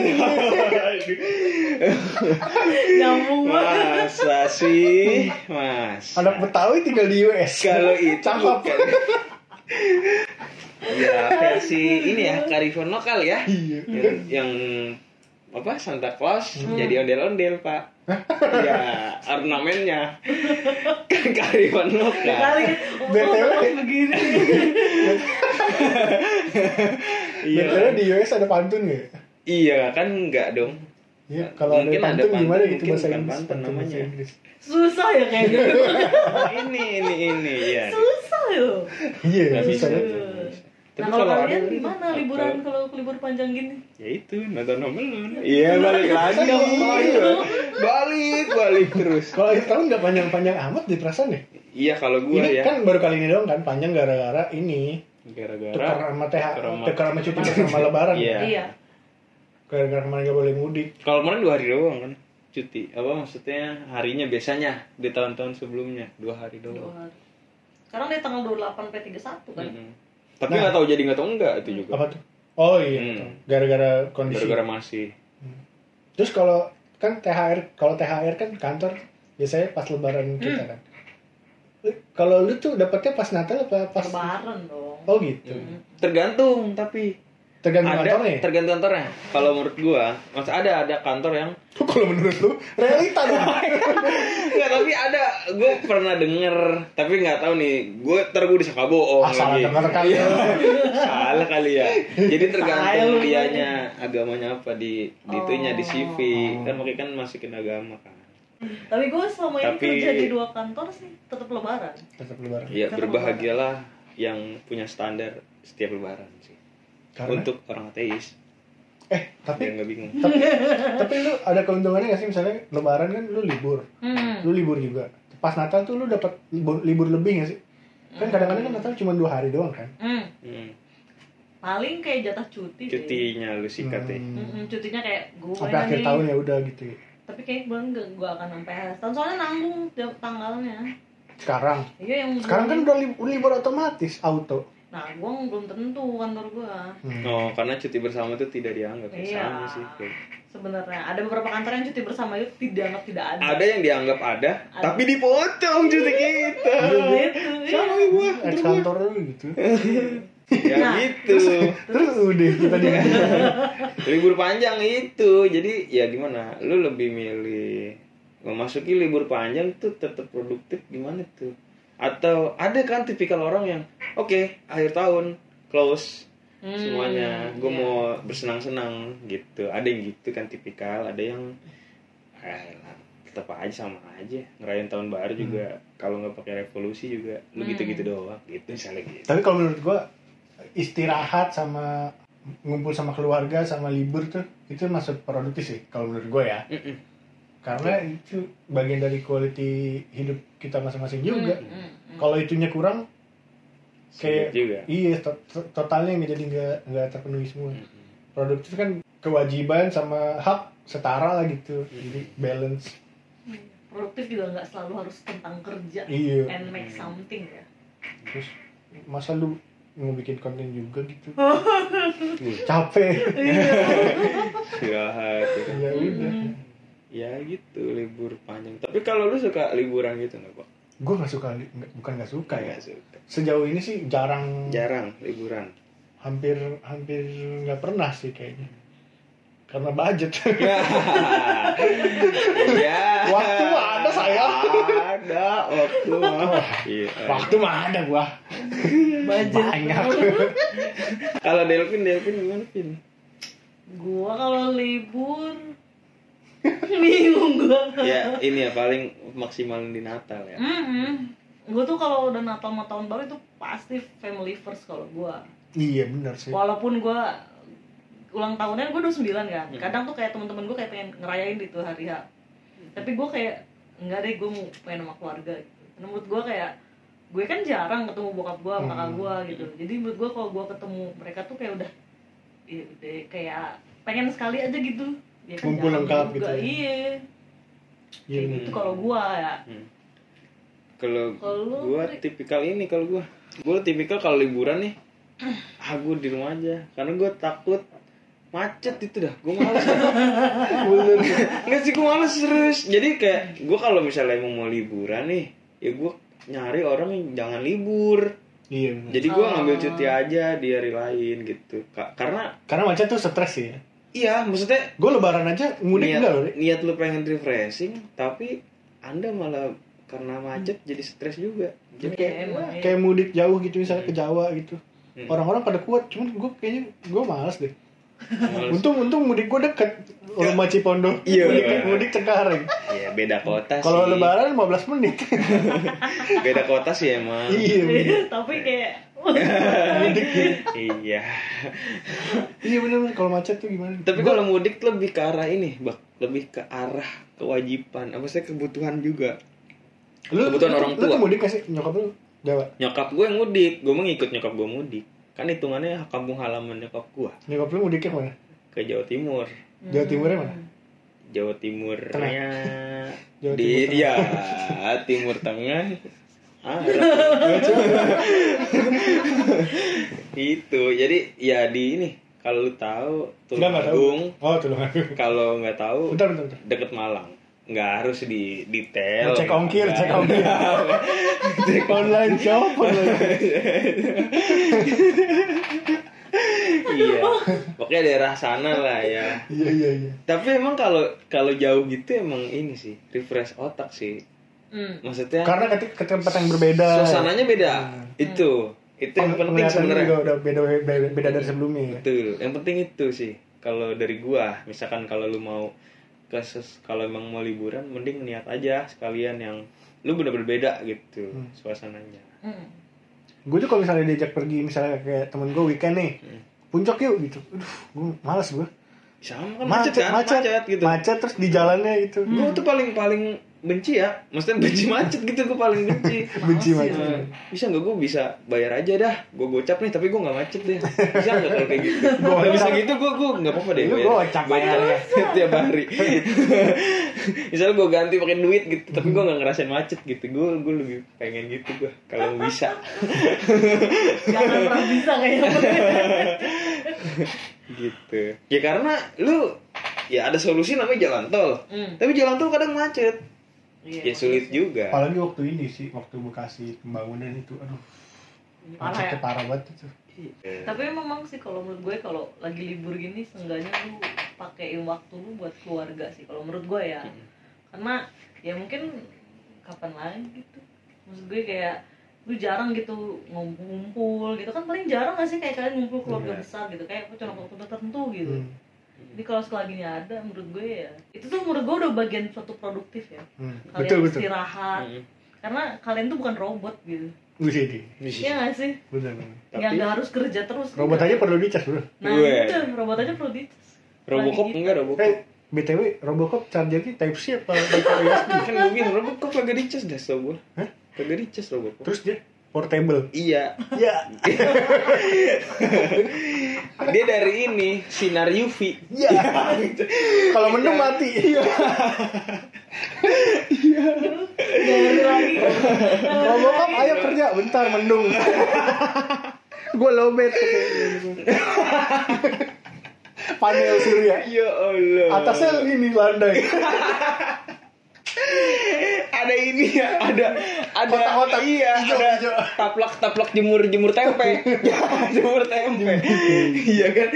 [SPEAKER 3] nyambung banget.
[SPEAKER 1] Masa sih? Mas.
[SPEAKER 2] Anak Betawi tinggal di US. [laughs]
[SPEAKER 1] Kalau itu
[SPEAKER 2] Cakep.
[SPEAKER 1] bukan. ya versi ini ya karifan lokal ya.
[SPEAKER 2] Iya. Hmm.
[SPEAKER 1] Yang, yang apa Santa Claus jadi ondel-ondel pak.
[SPEAKER 2] [laughs]
[SPEAKER 1] ya ornamennya kan karifan lokal.
[SPEAKER 3] Kali
[SPEAKER 2] BTW.
[SPEAKER 3] oh,
[SPEAKER 1] [laughs]
[SPEAKER 3] begini.
[SPEAKER 2] Betul di US ada pantun nggak?
[SPEAKER 1] Iya kan enggak dong.
[SPEAKER 2] Iya, kalau ada
[SPEAKER 1] Mungkin ada
[SPEAKER 2] pantun gimana
[SPEAKER 1] pantun,
[SPEAKER 2] gitu
[SPEAKER 1] mungkin
[SPEAKER 2] bahasa
[SPEAKER 1] bukan
[SPEAKER 2] Inggris?
[SPEAKER 1] pantun
[SPEAKER 2] Pantun bahasa
[SPEAKER 1] namanya.
[SPEAKER 2] Inggris.
[SPEAKER 3] Susah ya kayaknya.
[SPEAKER 1] [laughs] ini ini ini ya.
[SPEAKER 3] Susah loh.
[SPEAKER 2] Iya,
[SPEAKER 1] Nggak bisa.
[SPEAKER 2] bisa. ya.
[SPEAKER 1] nggak bisa.
[SPEAKER 3] Nah,
[SPEAKER 1] Tapi
[SPEAKER 3] kalau
[SPEAKER 1] kalau
[SPEAKER 3] kalian
[SPEAKER 1] ada- gitu,
[SPEAKER 3] gimana liburan kalau libur panjang gini?
[SPEAKER 1] Ya itu nonton nomelon. Iya balik lagi. balik balik terus.
[SPEAKER 2] Kalau akhir tahun nggak panjang-panjang amat di perasaan ya?
[SPEAKER 1] Iya kalau gua
[SPEAKER 2] Ini
[SPEAKER 1] ya.
[SPEAKER 2] kan baru kali ini doang kan panjang gara-gara ini tukar
[SPEAKER 1] Gara-gara.
[SPEAKER 2] sama TH,
[SPEAKER 1] tukar sama-
[SPEAKER 2] tukar sama cuti sama lebaran.
[SPEAKER 1] Iya.
[SPEAKER 3] Iya.
[SPEAKER 2] Gara-gara kemarin nggak boleh mudik.
[SPEAKER 1] Kalau kemarin dua hari doang kan cuti. Apa maksudnya harinya biasanya di tahun-tahun sebelumnya dua hari
[SPEAKER 3] Dua
[SPEAKER 1] doang.
[SPEAKER 3] hari. Sekarang dia tanggal 28 P31 kan.
[SPEAKER 1] Mm-mm. Tapi nggak tahu jadi nggak tahu enggak itu juga.
[SPEAKER 2] Apa tuh? Oh iya,
[SPEAKER 1] Hmm.
[SPEAKER 2] betul. gara-gara kondisi.
[SPEAKER 1] Gara-gara masih.
[SPEAKER 2] Terus kalau kan THR, kalau THR kan kantor biasanya pas
[SPEAKER 1] Hmm.
[SPEAKER 2] lebaran kita kan. Lu- Kalau lu tuh dapetnya pas Natal apa pas
[SPEAKER 3] Lebaran dong.
[SPEAKER 2] Oh gitu.
[SPEAKER 1] Tergantung tapi
[SPEAKER 2] Tergantung
[SPEAKER 1] Hmm. ada
[SPEAKER 2] kantornya. ya?
[SPEAKER 1] tergantung kantornya. Kalau menurut gua, mas ada ada kantor yang
[SPEAKER 2] kalau menurut lu realita dong.
[SPEAKER 1] Oh, iya. Enggak, tapi ada gue pernah denger, tapi nggak tahu nih. Gue ntar gue disangka bohong
[SPEAKER 2] Ah, salah
[SPEAKER 1] lagi.
[SPEAKER 2] denger kan.
[SPEAKER 1] Iya. salah kali ya. Jadi
[SPEAKER 3] Salah.
[SPEAKER 1] tergantung dianya agamanya apa di di itunya di CV.
[SPEAKER 2] Oh.
[SPEAKER 1] Kan makanya kan masukin agama kan.
[SPEAKER 3] Tapi gue selama ini
[SPEAKER 1] Tapi-
[SPEAKER 3] kerja di dua kantor sih tetap lebaran.
[SPEAKER 2] Tetap lebaran.
[SPEAKER 1] Iya, berbahagialah yang punya standar setiap lebaran sih.
[SPEAKER 2] Karena
[SPEAKER 1] Untuk orang ateis
[SPEAKER 2] eh
[SPEAKER 1] biar
[SPEAKER 2] tapi
[SPEAKER 1] nggak bingung.
[SPEAKER 2] tapi
[SPEAKER 1] iya.
[SPEAKER 2] tapi lu ada keuntungannya gak sih misalnya lebaran kan lu libur.
[SPEAKER 3] Hmm.
[SPEAKER 2] Lu libur juga. Pas Natal tuh lu dapat libur, libur lebih gak sih? Kan kadang-kadang kan Natal cuma dua hari doang kan.
[SPEAKER 3] Hmm.
[SPEAKER 1] Hmm.
[SPEAKER 3] Paling kayak jatah cuti. sih.
[SPEAKER 1] Cutinya lu sikat ya.
[SPEAKER 2] Hmm.
[SPEAKER 3] Mm-mm, cutinya kayak gue
[SPEAKER 2] Sampai akhir
[SPEAKER 3] nih.
[SPEAKER 2] tahun ya udah gitu. ya.
[SPEAKER 3] Tapi kayak gue enggak gue akan sampai akhir tahun soalnya nanggung tiap tanggalnya.
[SPEAKER 2] Sekarang
[SPEAKER 3] Iya yang
[SPEAKER 2] sekarang kan udah lib- udah libur otomatis auto.
[SPEAKER 3] Nah, gue belum tentu kantor gue.
[SPEAKER 2] Hmm.
[SPEAKER 1] Oh, karena cuti bersama itu tidak dianggap ya.
[SPEAKER 3] Iya.
[SPEAKER 1] Sama sih. kayak.
[SPEAKER 3] Sebenarnya ada beberapa kantor yang cuti bersama itu tidak anggap tidak ada.
[SPEAKER 1] Ada yang dianggap ada, tapi dipotong cuti kita.
[SPEAKER 2] [laughs]
[SPEAKER 3] Gitu.
[SPEAKER 2] gua ex kantor lu gitu.
[SPEAKER 1] ya
[SPEAKER 3] Nah.
[SPEAKER 1] gitu
[SPEAKER 2] Terus udah kita di
[SPEAKER 1] libur panjang itu jadi ya gimana lu lebih milih memasuki libur panjang tuh tetap produktif gimana tuh atau ada kan tipikal orang yang oke akhir tahun close
[SPEAKER 3] Hmm,
[SPEAKER 1] semuanya gue
[SPEAKER 3] iya.
[SPEAKER 1] mau bersenang-senang gitu ada yang gitu kan tipikal ada yang "Ah, elah, tetap aja sama aja ngerayain tahun baru juga kalau nggak pakai revolusi juga lu gitu gitu doang gitu misalnya gitu
[SPEAKER 2] Tapi kalau menurut gua istirahat sama ngumpul sama keluarga sama libur tuh itu masuk produktif sih kalau menurut gua ya.
[SPEAKER 1] Mm-mm.
[SPEAKER 2] Karena itu bagian dari quality hidup kita masing-masing juga.
[SPEAKER 3] Mm, mm.
[SPEAKER 2] Kalau itunya kurang
[SPEAKER 1] Sulit
[SPEAKER 2] kayak
[SPEAKER 1] juga
[SPEAKER 2] iya to- to- totalnya yang jadi nggak nggak terpenuhi semua.
[SPEAKER 1] Hmm.
[SPEAKER 2] Produktif kan kewajiban sama hak setara lah gitu. Jadi balance.
[SPEAKER 3] produktif juga nggak selalu harus tentang kerja
[SPEAKER 2] Iya.
[SPEAKER 3] and make something ya
[SPEAKER 2] Terus masa lu mau bikin konten juga gitu? Iya, Capek.
[SPEAKER 1] istirahat ya kan.
[SPEAKER 2] ya udah.
[SPEAKER 1] ya gitu libur panjang tapi kalau lu suka liburan gitu nggak kok
[SPEAKER 2] Gue nggak suka, li- nggak- bukan nggak suka ya.
[SPEAKER 1] Nggak suka
[SPEAKER 2] Sejauh ini sih jarang,
[SPEAKER 1] jarang liburan
[SPEAKER 2] hampir hampir nggak pernah sih kayaknya. Karena budget.
[SPEAKER 1] ya ya
[SPEAKER 2] Waktu mah ada, sayang.
[SPEAKER 1] ada waktu mah iya
[SPEAKER 2] Waktu mah ada gua. Banyak.
[SPEAKER 1] kalau Delvin Delvin gimana Vin
[SPEAKER 3] [laughs] gua kalau libur [laughs] bingung gua
[SPEAKER 1] ya ini ya paling maksimal di Natal ya
[SPEAKER 3] Mm-mm. Gua tuh kalau udah Natal sama tahun baru itu pasti family first kalau gua
[SPEAKER 2] iya benar sih.
[SPEAKER 3] walaupun gua ulang tahunnya gua 29 kan kadang tuh kayak temen-temen gua kayak pengen ngerayain di tuh hari H tapi gua kayak enggak deh gua mau pengen sama keluarga gitu. Karena menurut gua kayak gue kan jarang ketemu bokap gua, sama kakak gua gitu jadi menurut gua kalau gua ketemu mereka tuh kayak udah iya, udah kayak pengen sekali aja gitu ya kan
[SPEAKER 2] Kumpul
[SPEAKER 3] jarang
[SPEAKER 2] lengkap
[SPEAKER 3] juga.
[SPEAKER 2] gitu ya.
[SPEAKER 3] iya
[SPEAKER 2] Iya
[SPEAKER 3] Kayak
[SPEAKER 2] benar.
[SPEAKER 3] gitu kalau gua ya
[SPEAKER 1] kalau
[SPEAKER 3] Kalau lu,
[SPEAKER 1] gua
[SPEAKER 3] Rik?
[SPEAKER 1] tipikal ini kalau gua gua tipikal kalau liburan
[SPEAKER 3] [clears throat]
[SPEAKER 1] nih ah gua di rumah aja karena gua takut macet itu dah gua males [laughs] Bener. nggak sih gua males serius jadi kayak gua kalau misalnya emang mau liburan nih ya gua nyari orang yang jangan libur
[SPEAKER 2] Iya benar.
[SPEAKER 1] jadi
[SPEAKER 3] Oh.
[SPEAKER 1] gua ngambil cuti aja di hari lain gitu Ka- karena
[SPEAKER 2] Karena macet tuh stres sih. Ya.
[SPEAKER 1] iya maksudnya
[SPEAKER 2] Gue lebaran aja ngudik
[SPEAKER 1] niat,
[SPEAKER 2] enggak loh. Ri.
[SPEAKER 1] niat lu pengen refreshing tapi anda malah karena macet jadi stres juga jadi
[SPEAKER 2] Kayak,
[SPEAKER 3] emang, iya.
[SPEAKER 2] kayak mudik jauh gitu misalnya ke Jawa gitu.
[SPEAKER 1] Hmm.
[SPEAKER 2] Orang-orang pada kuat, cuman gue kayaknya gue malas deh.
[SPEAKER 1] males.
[SPEAKER 2] Untung untung mudik gue deket rumah Cipondo.
[SPEAKER 1] Iya.
[SPEAKER 2] Mudik, mudik Cengkareng.
[SPEAKER 1] Ya beda kota
[SPEAKER 2] Kalau
[SPEAKER 1] sih.
[SPEAKER 2] lebaran 15
[SPEAKER 1] [laughs]
[SPEAKER 2] menit.
[SPEAKER 1] Beda kota sih emang.
[SPEAKER 2] iya. ya. bener.
[SPEAKER 3] [laughs] tapi kayak
[SPEAKER 1] iya.
[SPEAKER 2] Iya bener bener. kalau macet tuh gimana?
[SPEAKER 1] Tapi kalau mudik lebih ke arah ini, Bak. Lebih ke arah kewajiban, apa sih kebutuhan juga.
[SPEAKER 2] lu,
[SPEAKER 1] kebutuhan
[SPEAKER 2] lu-
[SPEAKER 1] orang
[SPEAKER 2] Lu
[SPEAKER 1] tua.
[SPEAKER 2] tuh mudik gak sih nyokap lu Jawa?
[SPEAKER 1] Nyokap gue mudik, gue mau ngikut nyokap gue mudik. Kan hitungannya kampung halaman nyokap gue
[SPEAKER 2] Nyokap lu mudiknya mana?
[SPEAKER 1] ke Jawa Timur.
[SPEAKER 2] Jawa
[SPEAKER 3] Hmm.
[SPEAKER 2] ya, Timurnya mana?
[SPEAKER 1] Jawa Timurnya
[SPEAKER 2] [laughs] Jawa
[SPEAKER 1] di
[SPEAKER 2] Timur
[SPEAKER 1] ya Timur Tengah. [laughs] Ah, itu jadi ya di ini kalau lu tahu
[SPEAKER 2] Enggak enggak tahu.
[SPEAKER 1] Tulungagung
[SPEAKER 2] Oh, Tulung Agung.
[SPEAKER 1] kalau nggak tahu
[SPEAKER 2] Bentar bentar
[SPEAKER 1] [laughs]
[SPEAKER 2] bentar.
[SPEAKER 1] deket Malang nggak harus di detail
[SPEAKER 2] Cek ongkir,
[SPEAKER 1] Nggak.
[SPEAKER 2] cek ongkir. Cek online shop. online.
[SPEAKER 1] [laughs] iya pokoknya daerah sana lah ya
[SPEAKER 2] Iya iya iya.
[SPEAKER 1] tapi emang kalau kalau jauh gitu emang ini sih refresh otak sih
[SPEAKER 3] Hmm.
[SPEAKER 1] maksudnya
[SPEAKER 2] Karena ketika ke tempat yang berbeda.
[SPEAKER 1] suasananya beda itu itu yang penting
[SPEAKER 2] Hmm. Penglihatan
[SPEAKER 1] sebenarnya
[SPEAKER 2] juga udah beda beda, beda dari sebelumnya ya.
[SPEAKER 1] Betul. Yang penting itu sih. Kalau dari gua, misalkan kalau lu mau ke ses- kalau emang mau liburan mending niat aja sekalian yang lu bener-bener beda gitu suasananya.
[SPEAKER 3] Hmm.
[SPEAKER 2] Gue tuh kalau misalnya diajak pergi misalnya kayak temen gue weekend nih.
[SPEAKER 1] Hmm.
[SPEAKER 2] Puncak yuk gitu. Aduh, gue malas gue.
[SPEAKER 1] Sama kan macet, kan?
[SPEAKER 2] macet,
[SPEAKER 1] gitu. Hmm.
[SPEAKER 2] Macet terus di jalannya itu.
[SPEAKER 1] Gua tuh paling paling benci ya. Maksudnya
[SPEAKER 2] [laughs]
[SPEAKER 1] benci macet gitu gua paling benci.
[SPEAKER 2] Benci
[SPEAKER 1] Eh,
[SPEAKER 2] macet.
[SPEAKER 1] bisa nggak gua bisa bayar aja dah gua gocap nih tapi gua nggak macet deh bisa nggak kalau kayak gitu gua bisa gitu gua gua nggak apa-apa deh
[SPEAKER 2] Lu gocap bayarnya.
[SPEAKER 1] [laughs] tiap hari misalnya gua ganti pakai duit gitu tapi gua nggak ngerasain macet gitu gua gua lebih pengen gitu gua kalau bisa
[SPEAKER 3] Jangan pernah bisa
[SPEAKER 2] [laughs] Iya,
[SPEAKER 3] kayaknya.
[SPEAKER 1] gitu ya karena lu ya ada solusi namanya jalan tol
[SPEAKER 3] Hmm.
[SPEAKER 1] tapi jalan tol kadang macet ya
[SPEAKER 3] Iya.
[SPEAKER 1] sulit juga
[SPEAKER 2] Apalagi waktu ini sih, waktu Bekasi pembangunan itu, aduh,
[SPEAKER 3] Parah ya.
[SPEAKER 2] macetnya parah banget itu.
[SPEAKER 3] Tapi memang sih kalau menurut gue kalau lagi libur gini seenggaknya lu pakein waktu lu buat keluarga sih kalau menurut gue ya. Karena ya mungkin kapan lagi gitu. Maksud gue kayak lu jarang gitu ngumpul gitu kan paling jarang gak sih kayak kalian ngumpul keluarga besar gitu kayak cuma waktu tertentu gitu.
[SPEAKER 2] Hmm.
[SPEAKER 3] Ini jadi kalau selagi ada menurut gue ya itu tuh menurut gue udah bagian suatu produktif ya
[SPEAKER 2] Hmm.
[SPEAKER 3] kalian
[SPEAKER 2] Betul betul.
[SPEAKER 3] istirahat
[SPEAKER 1] Hmm.
[SPEAKER 3] karena kalian tuh bukan robot gitu
[SPEAKER 2] Wih, ini.
[SPEAKER 3] Iya nggak sih
[SPEAKER 2] Benar. benar.
[SPEAKER 3] nggak
[SPEAKER 1] Tapi-
[SPEAKER 3] nggak harus kerja terus
[SPEAKER 2] Robot aja perlu dicas, Bro.
[SPEAKER 3] nah
[SPEAKER 1] Gue.
[SPEAKER 3] itu robot aja perlu dicas
[SPEAKER 1] Robocop
[SPEAKER 3] Lagi-
[SPEAKER 1] enggak Robocop.
[SPEAKER 2] Eh, BTW Robocop chargernya type ya? C apa micro USB?
[SPEAKER 1] Kan gue bilang Robocop kagak dicas dah tau gue.
[SPEAKER 2] Hah?
[SPEAKER 1] Kagak dicas Robocop.
[SPEAKER 2] Terus dia portable.
[SPEAKER 1] Iya.
[SPEAKER 2] Ya.
[SPEAKER 1] Dia dari ini sinar UV.
[SPEAKER 2] Ya. [laughs] Kalau mendung mati.
[SPEAKER 3] Nggak
[SPEAKER 1] [laughs]
[SPEAKER 3] ngerti lagi
[SPEAKER 2] Robocop ayo kerja bentar mendung. Gua [laughs] lobet. Panel surya.
[SPEAKER 1] Ya Allah.
[SPEAKER 2] Atasnya ini landai.
[SPEAKER 1] ada ini ya, ada ada
[SPEAKER 2] Kotak-kotak,
[SPEAKER 1] iya,
[SPEAKER 2] hijau,
[SPEAKER 1] ada
[SPEAKER 2] hijau.
[SPEAKER 1] taplak-taplak jemur-jemur
[SPEAKER 2] [laughs]
[SPEAKER 1] tempe. jemur tempe. Iya kan?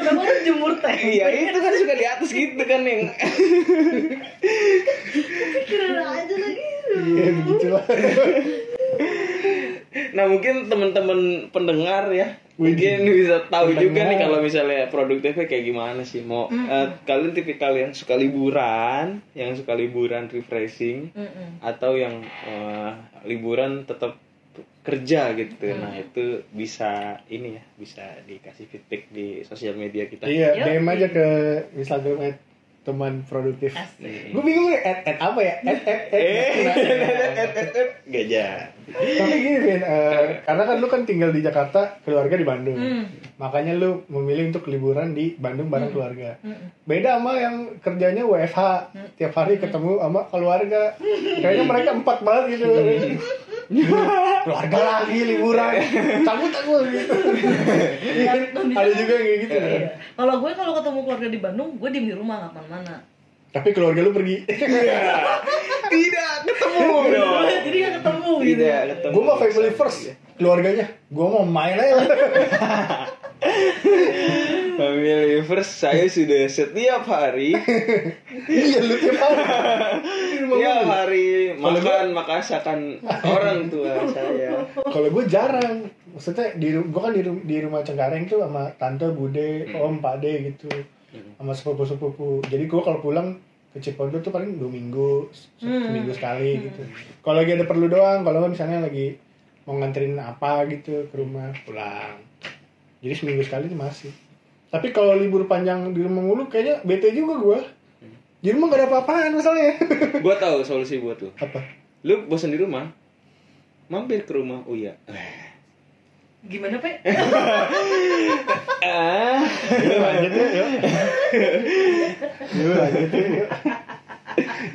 [SPEAKER 3] kenapa lu jemur teh
[SPEAKER 1] Iya, itu kan suka di atas gitu kan yang
[SPEAKER 3] kira aja lagi
[SPEAKER 2] [laughs] Iya
[SPEAKER 3] [laughs]
[SPEAKER 2] begitulah.
[SPEAKER 1] Nah mungkin teman-teman pendengar ya
[SPEAKER 2] Widih.
[SPEAKER 1] mungkin bisa tahu
[SPEAKER 2] Pendengar.
[SPEAKER 1] juga nih kalau misalnya produktifnya kayak gimana sih mau eh, kalian tipikal yang suka liburan, yang suka liburan refreshing
[SPEAKER 3] Mm-mm.
[SPEAKER 1] atau yang eh, liburan tetap kerja gitu. Nah itu bisa ini ya bisa dikasih feedback di sosial media kita.
[SPEAKER 2] Iya,
[SPEAKER 3] Yuk.
[SPEAKER 2] DM aja ke Instagram at teman produktif.
[SPEAKER 3] Asik.
[SPEAKER 2] Gue bingung nih, at, at apa ya? At, at, at.
[SPEAKER 1] Eh,
[SPEAKER 2] Nah,
[SPEAKER 1] gajah.
[SPEAKER 2] Tapi gini, Vin, eh, karena kan lu kan tinggal di Jakarta, keluarga di Bandung.
[SPEAKER 3] Hmm.
[SPEAKER 2] Makanya lu memilih untuk liburan di Bandung bareng keluarga.
[SPEAKER 3] Mm-mm.
[SPEAKER 2] Beda sama yang kerjanya WFH,
[SPEAKER 3] Hmm.
[SPEAKER 2] tiap hari ketemu sama keluarga. Kayaknya mereka empat banget gitu.
[SPEAKER 3] Hmm.
[SPEAKER 2] keluarga lagi liburan, cabut aku gitu. Iya, Ada juga yang kayak gitu.
[SPEAKER 3] Iya. Kalau gue kalau ketemu keluarga di Bandung, gue diem di rumah nggak kemana-mana.
[SPEAKER 2] Tapi keluarga lu pergi.
[SPEAKER 1] [laughs] Tidak ketemu dong.
[SPEAKER 3] [laughs] Jadi nggak ketemu gitu.
[SPEAKER 1] Tidak ketemu.
[SPEAKER 2] gue Iya. mah family
[SPEAKER 1] iya.
[SPEAKER 2] first keluarganya gue mau main aja
[SPEAKER 1] Family first saya sudah setiap
[SPEAKER 2] [laughs]
[SPEAKER 1] hari
[SPEAKER 2] iya lu tiap hari Di rumah
[SPEAKER 1] Tiap
[SPEAKER 2] gua.
[SPEAKER 1] hari makan makasakan orang tua saya
[SPEAKER 2] kalau gue jarang maksudnya di gue kan di, ru- di rumah Cengkareng tuh sama tante bude om pade gitu sama sepupu sepupu jadi gue kalau pulang ke Cipondo tuh paling dua minggu se- seminggu sekali gitu kalau lagi ada perlu doang kalau nggak misalnya lagi mau nganterin apa gitu ke rumah pulang jadi seminggu sekali tuh masih tapi kalau libur panjang di rumah mulu kayaknya bete juga gue di rumah gak ada apa-apaan masalahnya [laughs]
[SPEAKER 1] Gua tahu solusi buat lu
[SPEAKER 2] apa
[SPEAKER 1] Lu bosan di rumah Mampir ke rumah Uya
[SPEAKER 3] Gimana pe? [laughs]
[SPEAKER 1] ah.
[SPEAKER 2] Yuk lanjut yuk, yuk. Yuk lanjut yuk, yuk. Yuk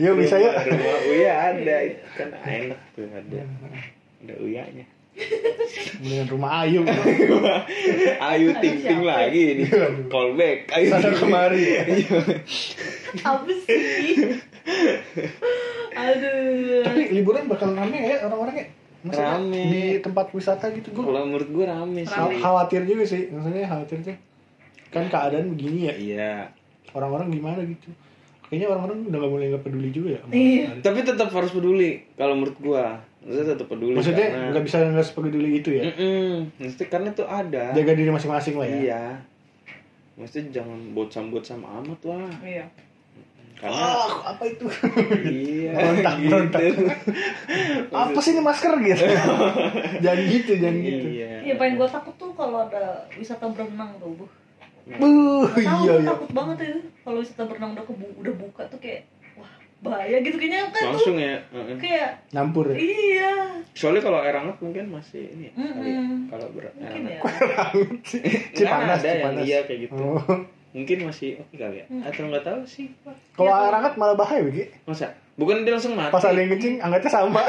[SPEAKER 2] Ya, bisa yuk.
[SPEAKER 1] Rumah- Rumah Uya ada Itu kan enak tuh ada Ada Uyanya
[SPEAKER 2] Mendingan rumah [laughs] Ayu.
[SPEAKER 1] Ayu ting ting lagi ini
[SPEAKER 2] Iya,
[SPEAKER 1] Callback Ayu
[SPEAKER 2] Sana
[SPEAKER 1] ting
[SPEAKER 2] Iya, kemari.
[SPEAKER 3] Apa
[SPEAKER 1] [laughs]
[SPEAKER 3] sih? Aduh.
[SPEAKER 2] Tapi liburan bakal rame ya orang-orangnya. Maksudnya
[SPEAKER 1] Rame.
[SPEAKER 2] di tempat wisata gitu gue
[SPEAKER 1] Kalau menurut gua rame sih
[SPEAKER 3] Rame.
[SPEAKER 2] khawatir juga sih. Maksudnya khawatir tuh kan keadaan begini ya
[SPEAKER 1] Iya
[SPEAKER 2] orang-orang gimana gitu. Kayaknya orang-orang udah gak mulai nggak peduli juga ya. sama
[SPEAKER 3] Iya.
[SPEAKER 2] keadaan.
[SPEAKER 1] Tapi tetap harus peduli Kalau menurut gua Maksudnya tetap peduli
[SPEAKER 2] Maksudnya
[SPEAKER 1] karena-
[SPEAKER 2] nggak bisa nggak sepeduli itu ya.
[SPEAKER 1] Mm-mm. Maksudnya karena itu ada.
[SPEAKER 2] Jaga diri masing-masing lah ya.
[SPEAKER 1] Hmm. Iya. Maksudnya jangan bocam-bocam amat lah.
[SPEAKER 3] Iya. Oh.
[SPEAKER 1] Karena
[SPEAKER 2] Wah, Ah, apa itu? [laughs]
[SPEAKER 1] iya. Gitu.
[SPEAKER 2] Merontak, merontak. apa sih ini masker
[SPEAKER 1] [laughs]
[SPEAKER 2] gitu? jangan gitu, jangan gitu.
[SPEAKER 1] Iya.
[SPEAKER 3] Iya, paling gue takut tuh kalau ada wisata berenang tuh, bu.
[SPEAKER 2] Buh,
[SPEAKER 3] Gak tau,
[SPEAKER 2] iya iya.
[SPEAKER 3] gue takut banget itu. Kalau wisata berenang udah kebu udah buka tuh kayak, wah bahaya gitu kayaknya kan tuh.
[SPEAKER 1] Langsung ya. heeh.
[SPEAKER 3] Kayak,
[SPEAKER 2] Nyampur ya.
[SPEAKER 3] iya.
[SPEAKER 1] Soalnya kalau air hangat mungkin masih ini. kali ya.
[SPEAKER 3] Mm-mm.
[SPEAKER 1] Kalau berat. air
[SPEAKER 3] Mungkin
[SPEAKER 1] hangat.
[SPEAKER 3] ya.
[SPEAKER 1] Nggak
[SPEAKER 2] [laughs] Cipanas,
[SPEAKER 1] ada yang
[SPEAKER 2] Cipanas.
[SPEAKER 1] iya kayak gitu.
[SPEAKER 2] Oh.
[SPEAKER 1] Mungkin masih oke kali ya.
[SPEAKER 3] Mm.
[SPEAKER 1] Atau nggak tahu sih. Pak.
[SPEAKER 2] Kalau
[SPEAKER 3] Iya,
[SPEAKER 2] air hangat malah bahaya begitu.
[SPEAKER 1] Masa? Bukan dia langsung mati.
[SPEAKER 2] Pas ada yang kencing, angatnya
[SPEAKER 1] [laughs]
[SPEAKER 2] sama.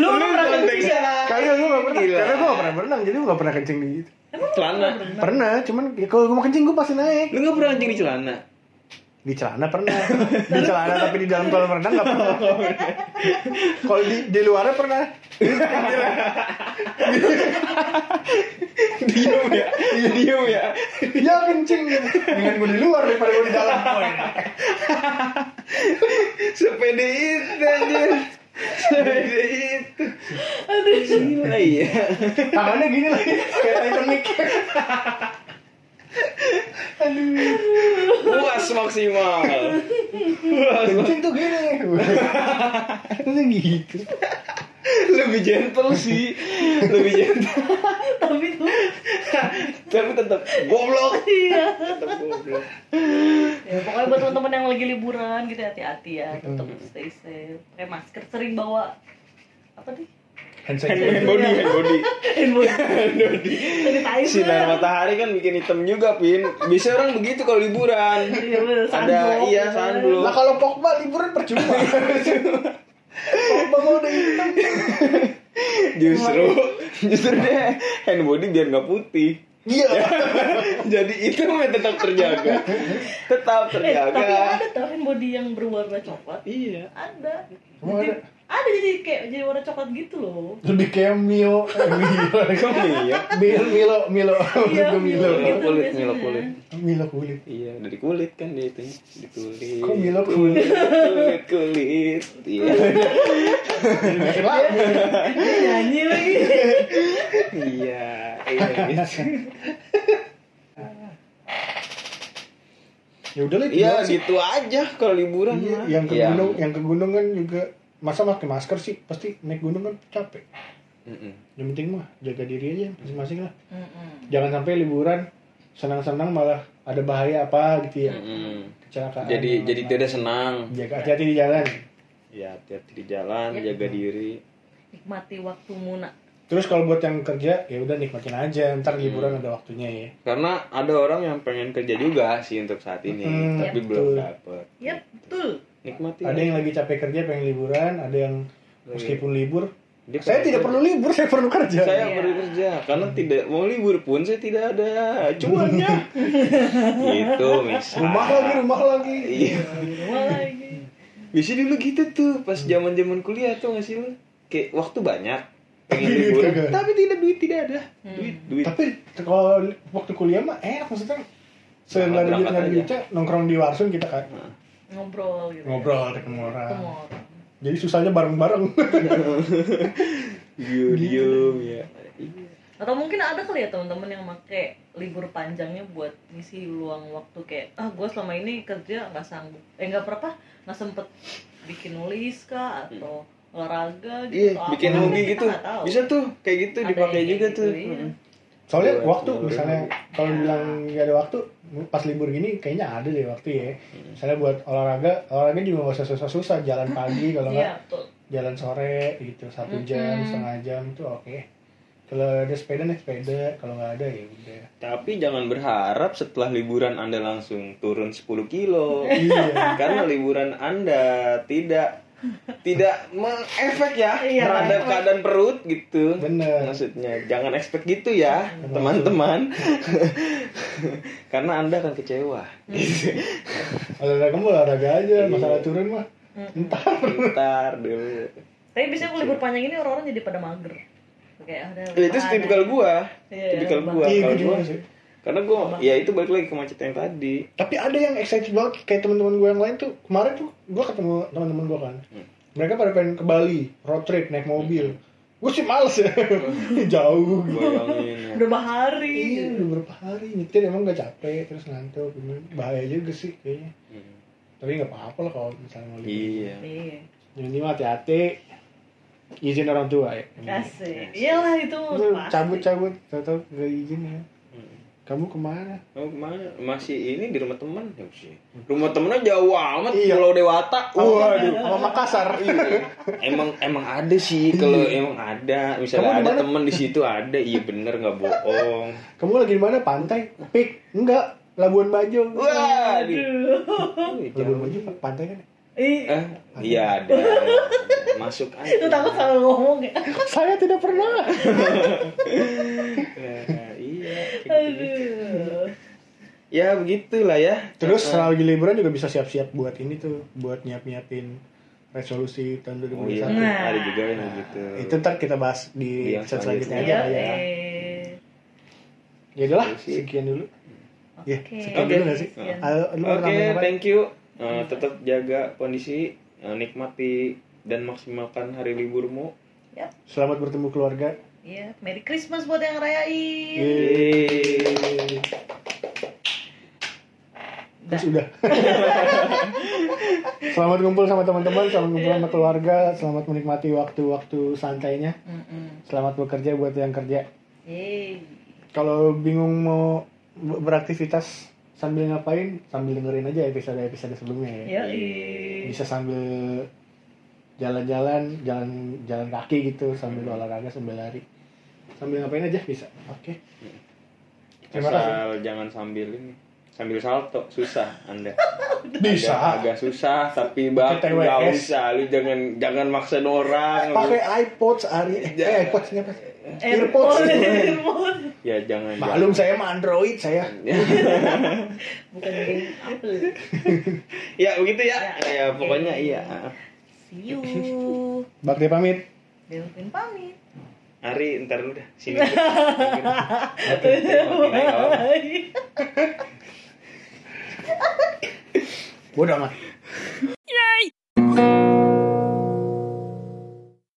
[SPEAKER 3] Lu lu pernah kencing ya?
[SPEAKER 2] Kagak gue gak pernah.
[SPEAKER 1] Gila.
[SPEAKER 2] Karena gue gak pernah berenang, jadi gue gak pernah kencing di gitu.
[SPEAKER 1] celana.
[SPEAKER 2] Pernah, cuman ya, kalau gue mau kencing gue pasti naik.
[SPEAKER 1] Lu nggak pernah kencing di celana?
[SPEAKER 2] [laughs] Di celana pernah. Di celana tapi di dalam kolam renang gak pernah.
[SPEAKER 1] Oh, iya.
[SPEAKER 2] Kalau di di luarnya pernah.
[SPEAKER 1] Diem ya.
[SPEAKER 2] Iya,
[SPEAKER 1] Diem ya.
[SPEAKER 2] Ya kencing gitu. Dengan gue di luar daripada gue di dalam.
[SPEAKER 1] Oh, Sepede itu anjir. Sepede itu.
[SPEAKER 2] kan-
[SPEAKER 3] Aduh.
[SPEAKER 1] Gila ya.
[SPEAKER 2] Tangannya gini lagi, kayak Titanic.
[SPEAKER 1] puas maksimal puas
[SPEAKER 2] Kencing tuh gini. Itu gitu.
[SPEAKER 1] lebih gentle sih lebih gentle
[SPEAKER 3] tapi tuh
[SPEAKER 1] tapi tetap goblok
[SPEAKER 3] iya
[SPEAKER 1] tetap goblok
[SPEAKER 3] ya, pokoknya buat teman-teman yang lagi liburan gitu hati-hati ya tetap stay safe pakai masker sering bawa apa nih
[SPEAKER 2] Hand
[SPEAKER 1] hand, hand body hand body hand body sinar
[SPEAKER 3] sanitizer
[SPEAKER 1] matahari kan bikin hitam juga pin biasanya orang begitu kalau liburan
[SPEAKER 3] Iya, bener,
[SPEAKER 1] ada
[SPEAKER 3] sunblock,
[SPEAKER 1] iya
[SPEAKER 3] gitu.
[SPEAKER 1] sunblock
[SPEAKER 2] Nah kalau Pogba liburan percuma. Pogba mau udah hitam.
[SPEAKER 1] justru justru dia hand body biar nggak putih
[SPEAKER 2] Iya.
[SPEAKER 1] jadi itu tetap terjaga tetap
[SPEAKER 3] eh, tapi
[SPEAKER 1] terjaga
[SPEAKER 3] ada tau handbody yang berwarna coklat
[SPEAKER 1] iya
[SPEAKER 3] ada
[SPEAKER 2] Emang
[SPEAKER 3] Jadi-
[SPEAKER 2] ada?
[SPEAKER 3] ada jadi kayak jadi warna coklat gitu
[SPEAKER 1] [laughs]
[SPEAKER 3] loh
[SPEAKER 2] Lebih kayak Mio. Eh, Mio.
[SPEAKER 1] kamu iya
[SPEAKER 2] Milo, Milo, Milo, Milo, Milo,
[SPEAKER 1] Milo
[SPEAKER 3] gitu
[SPEAKER 1] kulit,
[SPEAKER 3] biasanya.
[SPEAKER 1] Milo kulit.
[SPEAKER 2] Milo kulit.
[SPEAKER 1] iya dari kulit kan dia itu dari kulit
[SPEAKER 2] Kok Milo kulit?
[SPEAKER 1] kulit kulit iya
[SPEAKER 2] Bikin lagi.
[SPEAKER 3] Dia nyanyi lagi
[SPEAKER 1] iya iya gitu.
[SPEAKER 2] Ya udah lah.
[SPEAKER 1] iya
[SPEAKER 2] tinggal sih.
[SPEAKER 1] gitu aja kalau liburan
[SPEAKER 2] Iya,
[SPEAKER 1] mah.
[SPEAKER 2] yang ke
[SPEAKER 1] Iya.
[SPEAKER 2] gunung, yang ke gunung kan juga masa pakai masker sih pasti naik gunung kan capek.
[SPEAKER 1] Mm-mm.
[SPEAKER 2] Yang penting mah jaga diri aja masing-masing lah.
[SPEAKER 3] Mm-mm.
[SPEAKER 2] Jangan sampai liburan senang-senang malah ada bahaya apa gitu ya.
[SPEAKER 1] Mm-mm.
[SPEAKER 2] Kecelakaan.
[SPEAKER 1] jadi
[SPEAKER 2] apa.
[SPEAKER 1] jadi tidak senang
[SPEAKER 2] jaga hati-hati di jalan.
[SPEAKER 1] ya hati-hati di jalan
[SPEAKER 3] Iya.
[SPEAKER 1] jaga diri
[SPEAKER 3] nikmati waktumu nak
[SPEAKER 2] Terus kalau buat yang kerja ya udah nikmatin aja, ntar
[SPEAKER 1] Mm.
[SPEAKER 2] liburan ada waktunya ya.
[SPEAKER 1] karena ada orang yang pengen kerja juga sih untuk saat ini
[SPEAKER 2] Mm,
[SPEAKER 1] tapi
[SPEAKER 2] iya,
[SPEAKER 1] belum
[SPEAKER 2] betul.
[SPEAKER 1] dapet
[SPEAKER 3] ya betul
[SPEAKER 1] nikmati
[SPEAKER 2] Ada yang lagi capek kerja pengen liburan, ada yang meskipun libur,
[SPEAKER 1] Iya. Dia
[SPEAKER 2] saya
[SPEAKER 1] pengen
[SPEAKER 2] tidak perlu libur, [laughs] saya perlu kerja.
[SPEAKER 1] saya
[SPEAKER 3] Iya.
[SPEAKER 1] perlu kerja karena tidak mau libur pun saya tidak ada
[SPEAKER 2] [laughs]
[SPEAKER 1] cuannya gitu misal
[SPEAKER 2] Rumah lagi, rumah lagi.
[SPEAKER 1] iya
[SPEAKER 3] Wah, lagi
[SPEAKER 1] bisa dulu gitu tuh pas zaman zaman kuliah tuh nggak sih lu kayak waktu banyak pengen
[SPEAKER 2] Duit
[SPEAKER 1] liburan
[SPEAKER 2] Iya, kagak.
[SPEAKER 1] tapi tidak duit tidak ada
[SPEAKER 3] Hmm.
[SPEAKER 1] duit duit
[SPEAKER 2] Tapi kalau waktu kuliah mah enak maksudnya. Saya nggak ada duit nggak ada
[SPEAKER 1] Berangkat
[SPEAKER 2] duit, nongkrong di warsun kita kan
[SPEAKER 3] ngobrol gitu
[SPEAKER 2] ngobrol ketemu orang.
[SPEAKER 3] Ketemu orang.
[SPEAKER 2] Jadi susahnya bareng-bareng. [laughs]
[SPEAKER 1] diem
[SPEAKER 2] Iya.
[SPEAKER 1] diem ya Iya.
[SPEAKER 3] atau mungkin ada kali ya teman-teman yang make libur panjangnya buat ngisi luang waktu kayak ah gue selama ini kerja nggak sanggup eh nggak berapa nggak sempet bikin nulis kah atau olahraga
[SPEAKER 1] Iya,
[SPEAKER 3] gitu atau
[SPEAKER 1] bikin
[SPEAKER 3] apa, kan
[SPEAKER 1] hobi
[SPEAKER 3] kita
[SPEAKER 1] gitu.
[SPEAKER 3] nggak tahu.
[SPEAKER 1] Bisa tuh kayak gitu
[SPEAKER 3] Ada
[SPEAKER 1] dipakai
[SPEAKER 3] yang
[SPEAKER 1] juga
[SPEAKER 3] kayak
[SPEAKER 1] tuh.
[SPEAKER 3] gitu, iya.
[SPEAKER 1] Heeh.
[SPEAKER 2] Soalnya
[SPEAKER 1] Iya,
[SPEAKER 2] waktu
[SPEAKER 1] iya,
[SPEAKER 2] misalnya
[SPEAKER 1] iya.
[SPEAKER 2] kalau bilang nggak ada waktu, pas libur gini kayaknya ada deh waktu ya. Misalnya buat olahraga, olahraga juga nggak usah susah-susah, jalan pagi kalau nggak
[SPEAKER 3] iya betul
[SPEAKER 2] jalan sore gitu satu jam
[SPEAKER 3] Mm-mm.
[SPEAKER 2] setengah jam itu oke. Kalau ada sepeda naik sepeda, kalau nggak ada ya udah.
[SPEAKER 1] Tapi jangan berharap setelah liburan Anda langsung turun 10 kilo.
[SPEAKER 2] Iya.
[SPEAKER 1] Karena liburan Anda tidak tidak mengefek ya
[SPEAKER 3] Iya.
[SPEAKER 1] terhadap keadaan perut gitu.
[SPEAKER 2] Bener.
[SPEAKER 1] Maksudnya jangan expect gitu ya, teman-teman. [laughs] Karena Anda akan kecewa. Gitu.
[SPEAKER 2] olahraga mah olahraga aja
[SPEAKER 1] Iya.
[SPEAKER 2] masalah turun mah
[SPEAKER 3] entah
[SPEAKER 1] Ntar dulu.
[SPEAKER 3] tapi biasanya kalau libur panjang ini orang-orang jadi pada mager kayak ada
[SPEAKER 1] Ya, itu
[SPEAKER 3] bahan,
[SPEAKER 1] tipikal gua.
[SPEAKER 3] Iya,
[SPEAKER 1] Tipikal
[SPEAKER 3] iya,
[SPEAKER 1] gua.
[SPEAKER 2] iya gue
[SPEAKER 1] Kalau
[SPEAKER 2] juga
[SPEAKER 1] gua
[SPEAKER 2] sih
[SPEAKER 1] karena gua ya itu balik lagi ke macet yang tadi.
[SPEAKER 2] tapi ada yang excited banget kayak teman-teman gue yang lain tuh kemarin tuh gue ketemu teman-teman gue kan mereka pada pengen ke Bali road trip naik mobil gue sih males ya [laughs] jauh gitu
[SPEAKER 1] Bayangin
[SPEAKER 3] [laughs]
[SPEAKER 1] ya.
[SPEAKER 3] udah bahari
[SPEAKER 2] iya udah berapa hari nyetir emang gak capek terus ngantuk bener. bahaya juga sih kayaknya
[SPEAKER 1] Hmm.
[SPEAKER 2] tapi nggak apa-apa lah kalau misalnya mau libur
[SPEAKER 1] Iya.
[SPEAKER 3] iya
[SPEAKER 2] yang penting mah hati-hati izin orang tua ya
[SPEAKER 3] asik iyalah itu
[SPEAKER 2] Lu
[SPEAKER 3] pasti.
[SPEAKER 2] cabut-cabut tau-tau gak izin ya kamu kemana
[SPEAKER 1] Oh, kemana? Masih ini di rumah teman ya sih. Rumah temennya jauh amat
[SPEAKER 2] Iya.
[SPEAKER 1] Pulau Dewata. Iya.
[SPEAKER 2] Waduh, sama Makassar.
[SPEAKER 1] emang emang ada sih kalau emang ada
[SPEAKER 2] Kamu
[SPEAKER 1] misalnya
[SPEAKER 2] di
[SPEAKER 1] ada
[SPEAKER 2] mana?
[SPEAKER 1] teman di situ ada iya bener nggak bohong
[SPEAKER 2] Kamu lagi di mana? Pantai? Pik? Enggak, Labuan Bajo.
[SPEAKER 1] wah di- Wih,
[SPEAKER 2] Labuan
[SPEAKER 1] jauh.
[SPEAKER 2] Bajo pantai kan?
[SPEAKER 3] Ih,
[SPEAKER 1] eh iya ada masuk
[SPEAKER 3] itu
[SPEAKER 1] aja
[SPEAKER 3] takut salah ngomong
[SPEAKER 2] [laughs]
[SPEAKER 3] ya
[SPEAKER 2] Saya tidak pernah.
[SPEAKER 1] Eh, iya
[SPEAKER 3] aduh
[SPEAKER 1] ya begitulah ya
[SPEAKER 2] Terus setelah lagi liburan juga bisa siap-siap buat ini tuh, buat nyiap-nyiapin resolusi tahun 2021.
[SPEAKER 1] oh, iya.
[SPEAKER 3] Nah.
[SPEAKER 1] ada juga yang gitu
[SPEAKER 2] Nah, Itu ntar kita bahas di
[SPEAKER 1] Iya,
[SPEAKER 2] episode selanjutnya aja
[SPEAKER 3] Iya,
[SPEAKER 2] kali ya.
[SPEAKER 3] eh.
[SPEAKER 2] Ya udahlah, sekian dulu. Iya,
[SPEAKER 3] Oke. Iya.
[SPEAKER 2] sekian
[SPEAKER 1] Oke.
[SPEAKER 2] dulu nggak sih?
[SPEAKER 3] Sekian.
[SPEAKER 2] Ayo, lu mau
[SPEAKER 1] Oke,
[SPEAKER 2] nambahin apa?
[SPEAKER 1] thank you. Eh, tetap jaga kondisi, eh, nikmati dan maksimalkan hari liburmu.
[SPEAKER 3] Yap.
[SPEAKER 2] Selamat bertemu keluarga. Iya,
[SPEAKER 3] Iya, Merry Christmas buat yang ngerayain.
[SPEAKER 2] Yeay.
[SPEAKER 1] Yeay.
[SPEAKER 2] terus udah [laughs] selamat ngumpul sama teman-teman selamat ngumpul
[SPEAKER 1] Iya.
[SPEAKER 2] sama keluarga selamat menikmati waktu-waktu santainya
[SPEAKER 3] Mm-mm.
[SPEAKER 2] selamat bekerja buat yang kerja
[SPEAKER 3] Yeay.
[SPEAKER 2] kalau bingung mau be- beraktivitas sambil ngapain sambil dengerin aja episode-episode sebelumnya ya
[SPEAKER 3] Iya. Yoi.
[SPEAKER 2] bisa sambil jalan-jalan jalan jalan kaki gitu sambil olahraga sambil lari sambil ngapain aja bisa oke Terima kasih.
[SPEAKER 1] Asal jangan sambil ini sambil salto susah anda
[SPEAKER 2] [laughs] bisa
[SPEAKER 1] agak, agak susah tapi bang
[SPEAKER 2] Pakai
[SPEAKER 1] nggak
[SPEAKER 2] TWS.
[SPEAKER 1] usah lu jangan jangan maksain orang lu.
[SPEAKER 2] pakai iPods Ari eh
[SPEAKER 1] Ya.
[SPEAKER 2] iPods ini apa
[SPEAKER 3] Airpod.
[SPEAKER 2] Earpods.
[SPEAKER 3] Airpod.
[SPEAKER 1] ya jangan
[SPEAKER 2] Maklum saya mah Android saya.
[SPEAKER 1] jangan.
[SPEAKER 3] [laughs]
[SPEAKER 1] [laughs]
[SPEAKER 3] Bukan game Apple.
[SPEAKER 2] [laughs]
[SPEAKER 1] ya begitu ya
[SPEAKER 3] Ya.
[SPEAKER 1] ya pokoknya iya
[SPEAKER 3] See you.
[SPEAKER 2] Bakti pamit.
[SPEAKER 3] Delvin pamit.
[SPEAKER 1] Ari ntar lu dah
[SPEAKER 2] [laughs]
[SPEAKER 1] sini [laughs]
[SPEAKER 3] Bye.
[SPEAKER 2] Bodoh amat.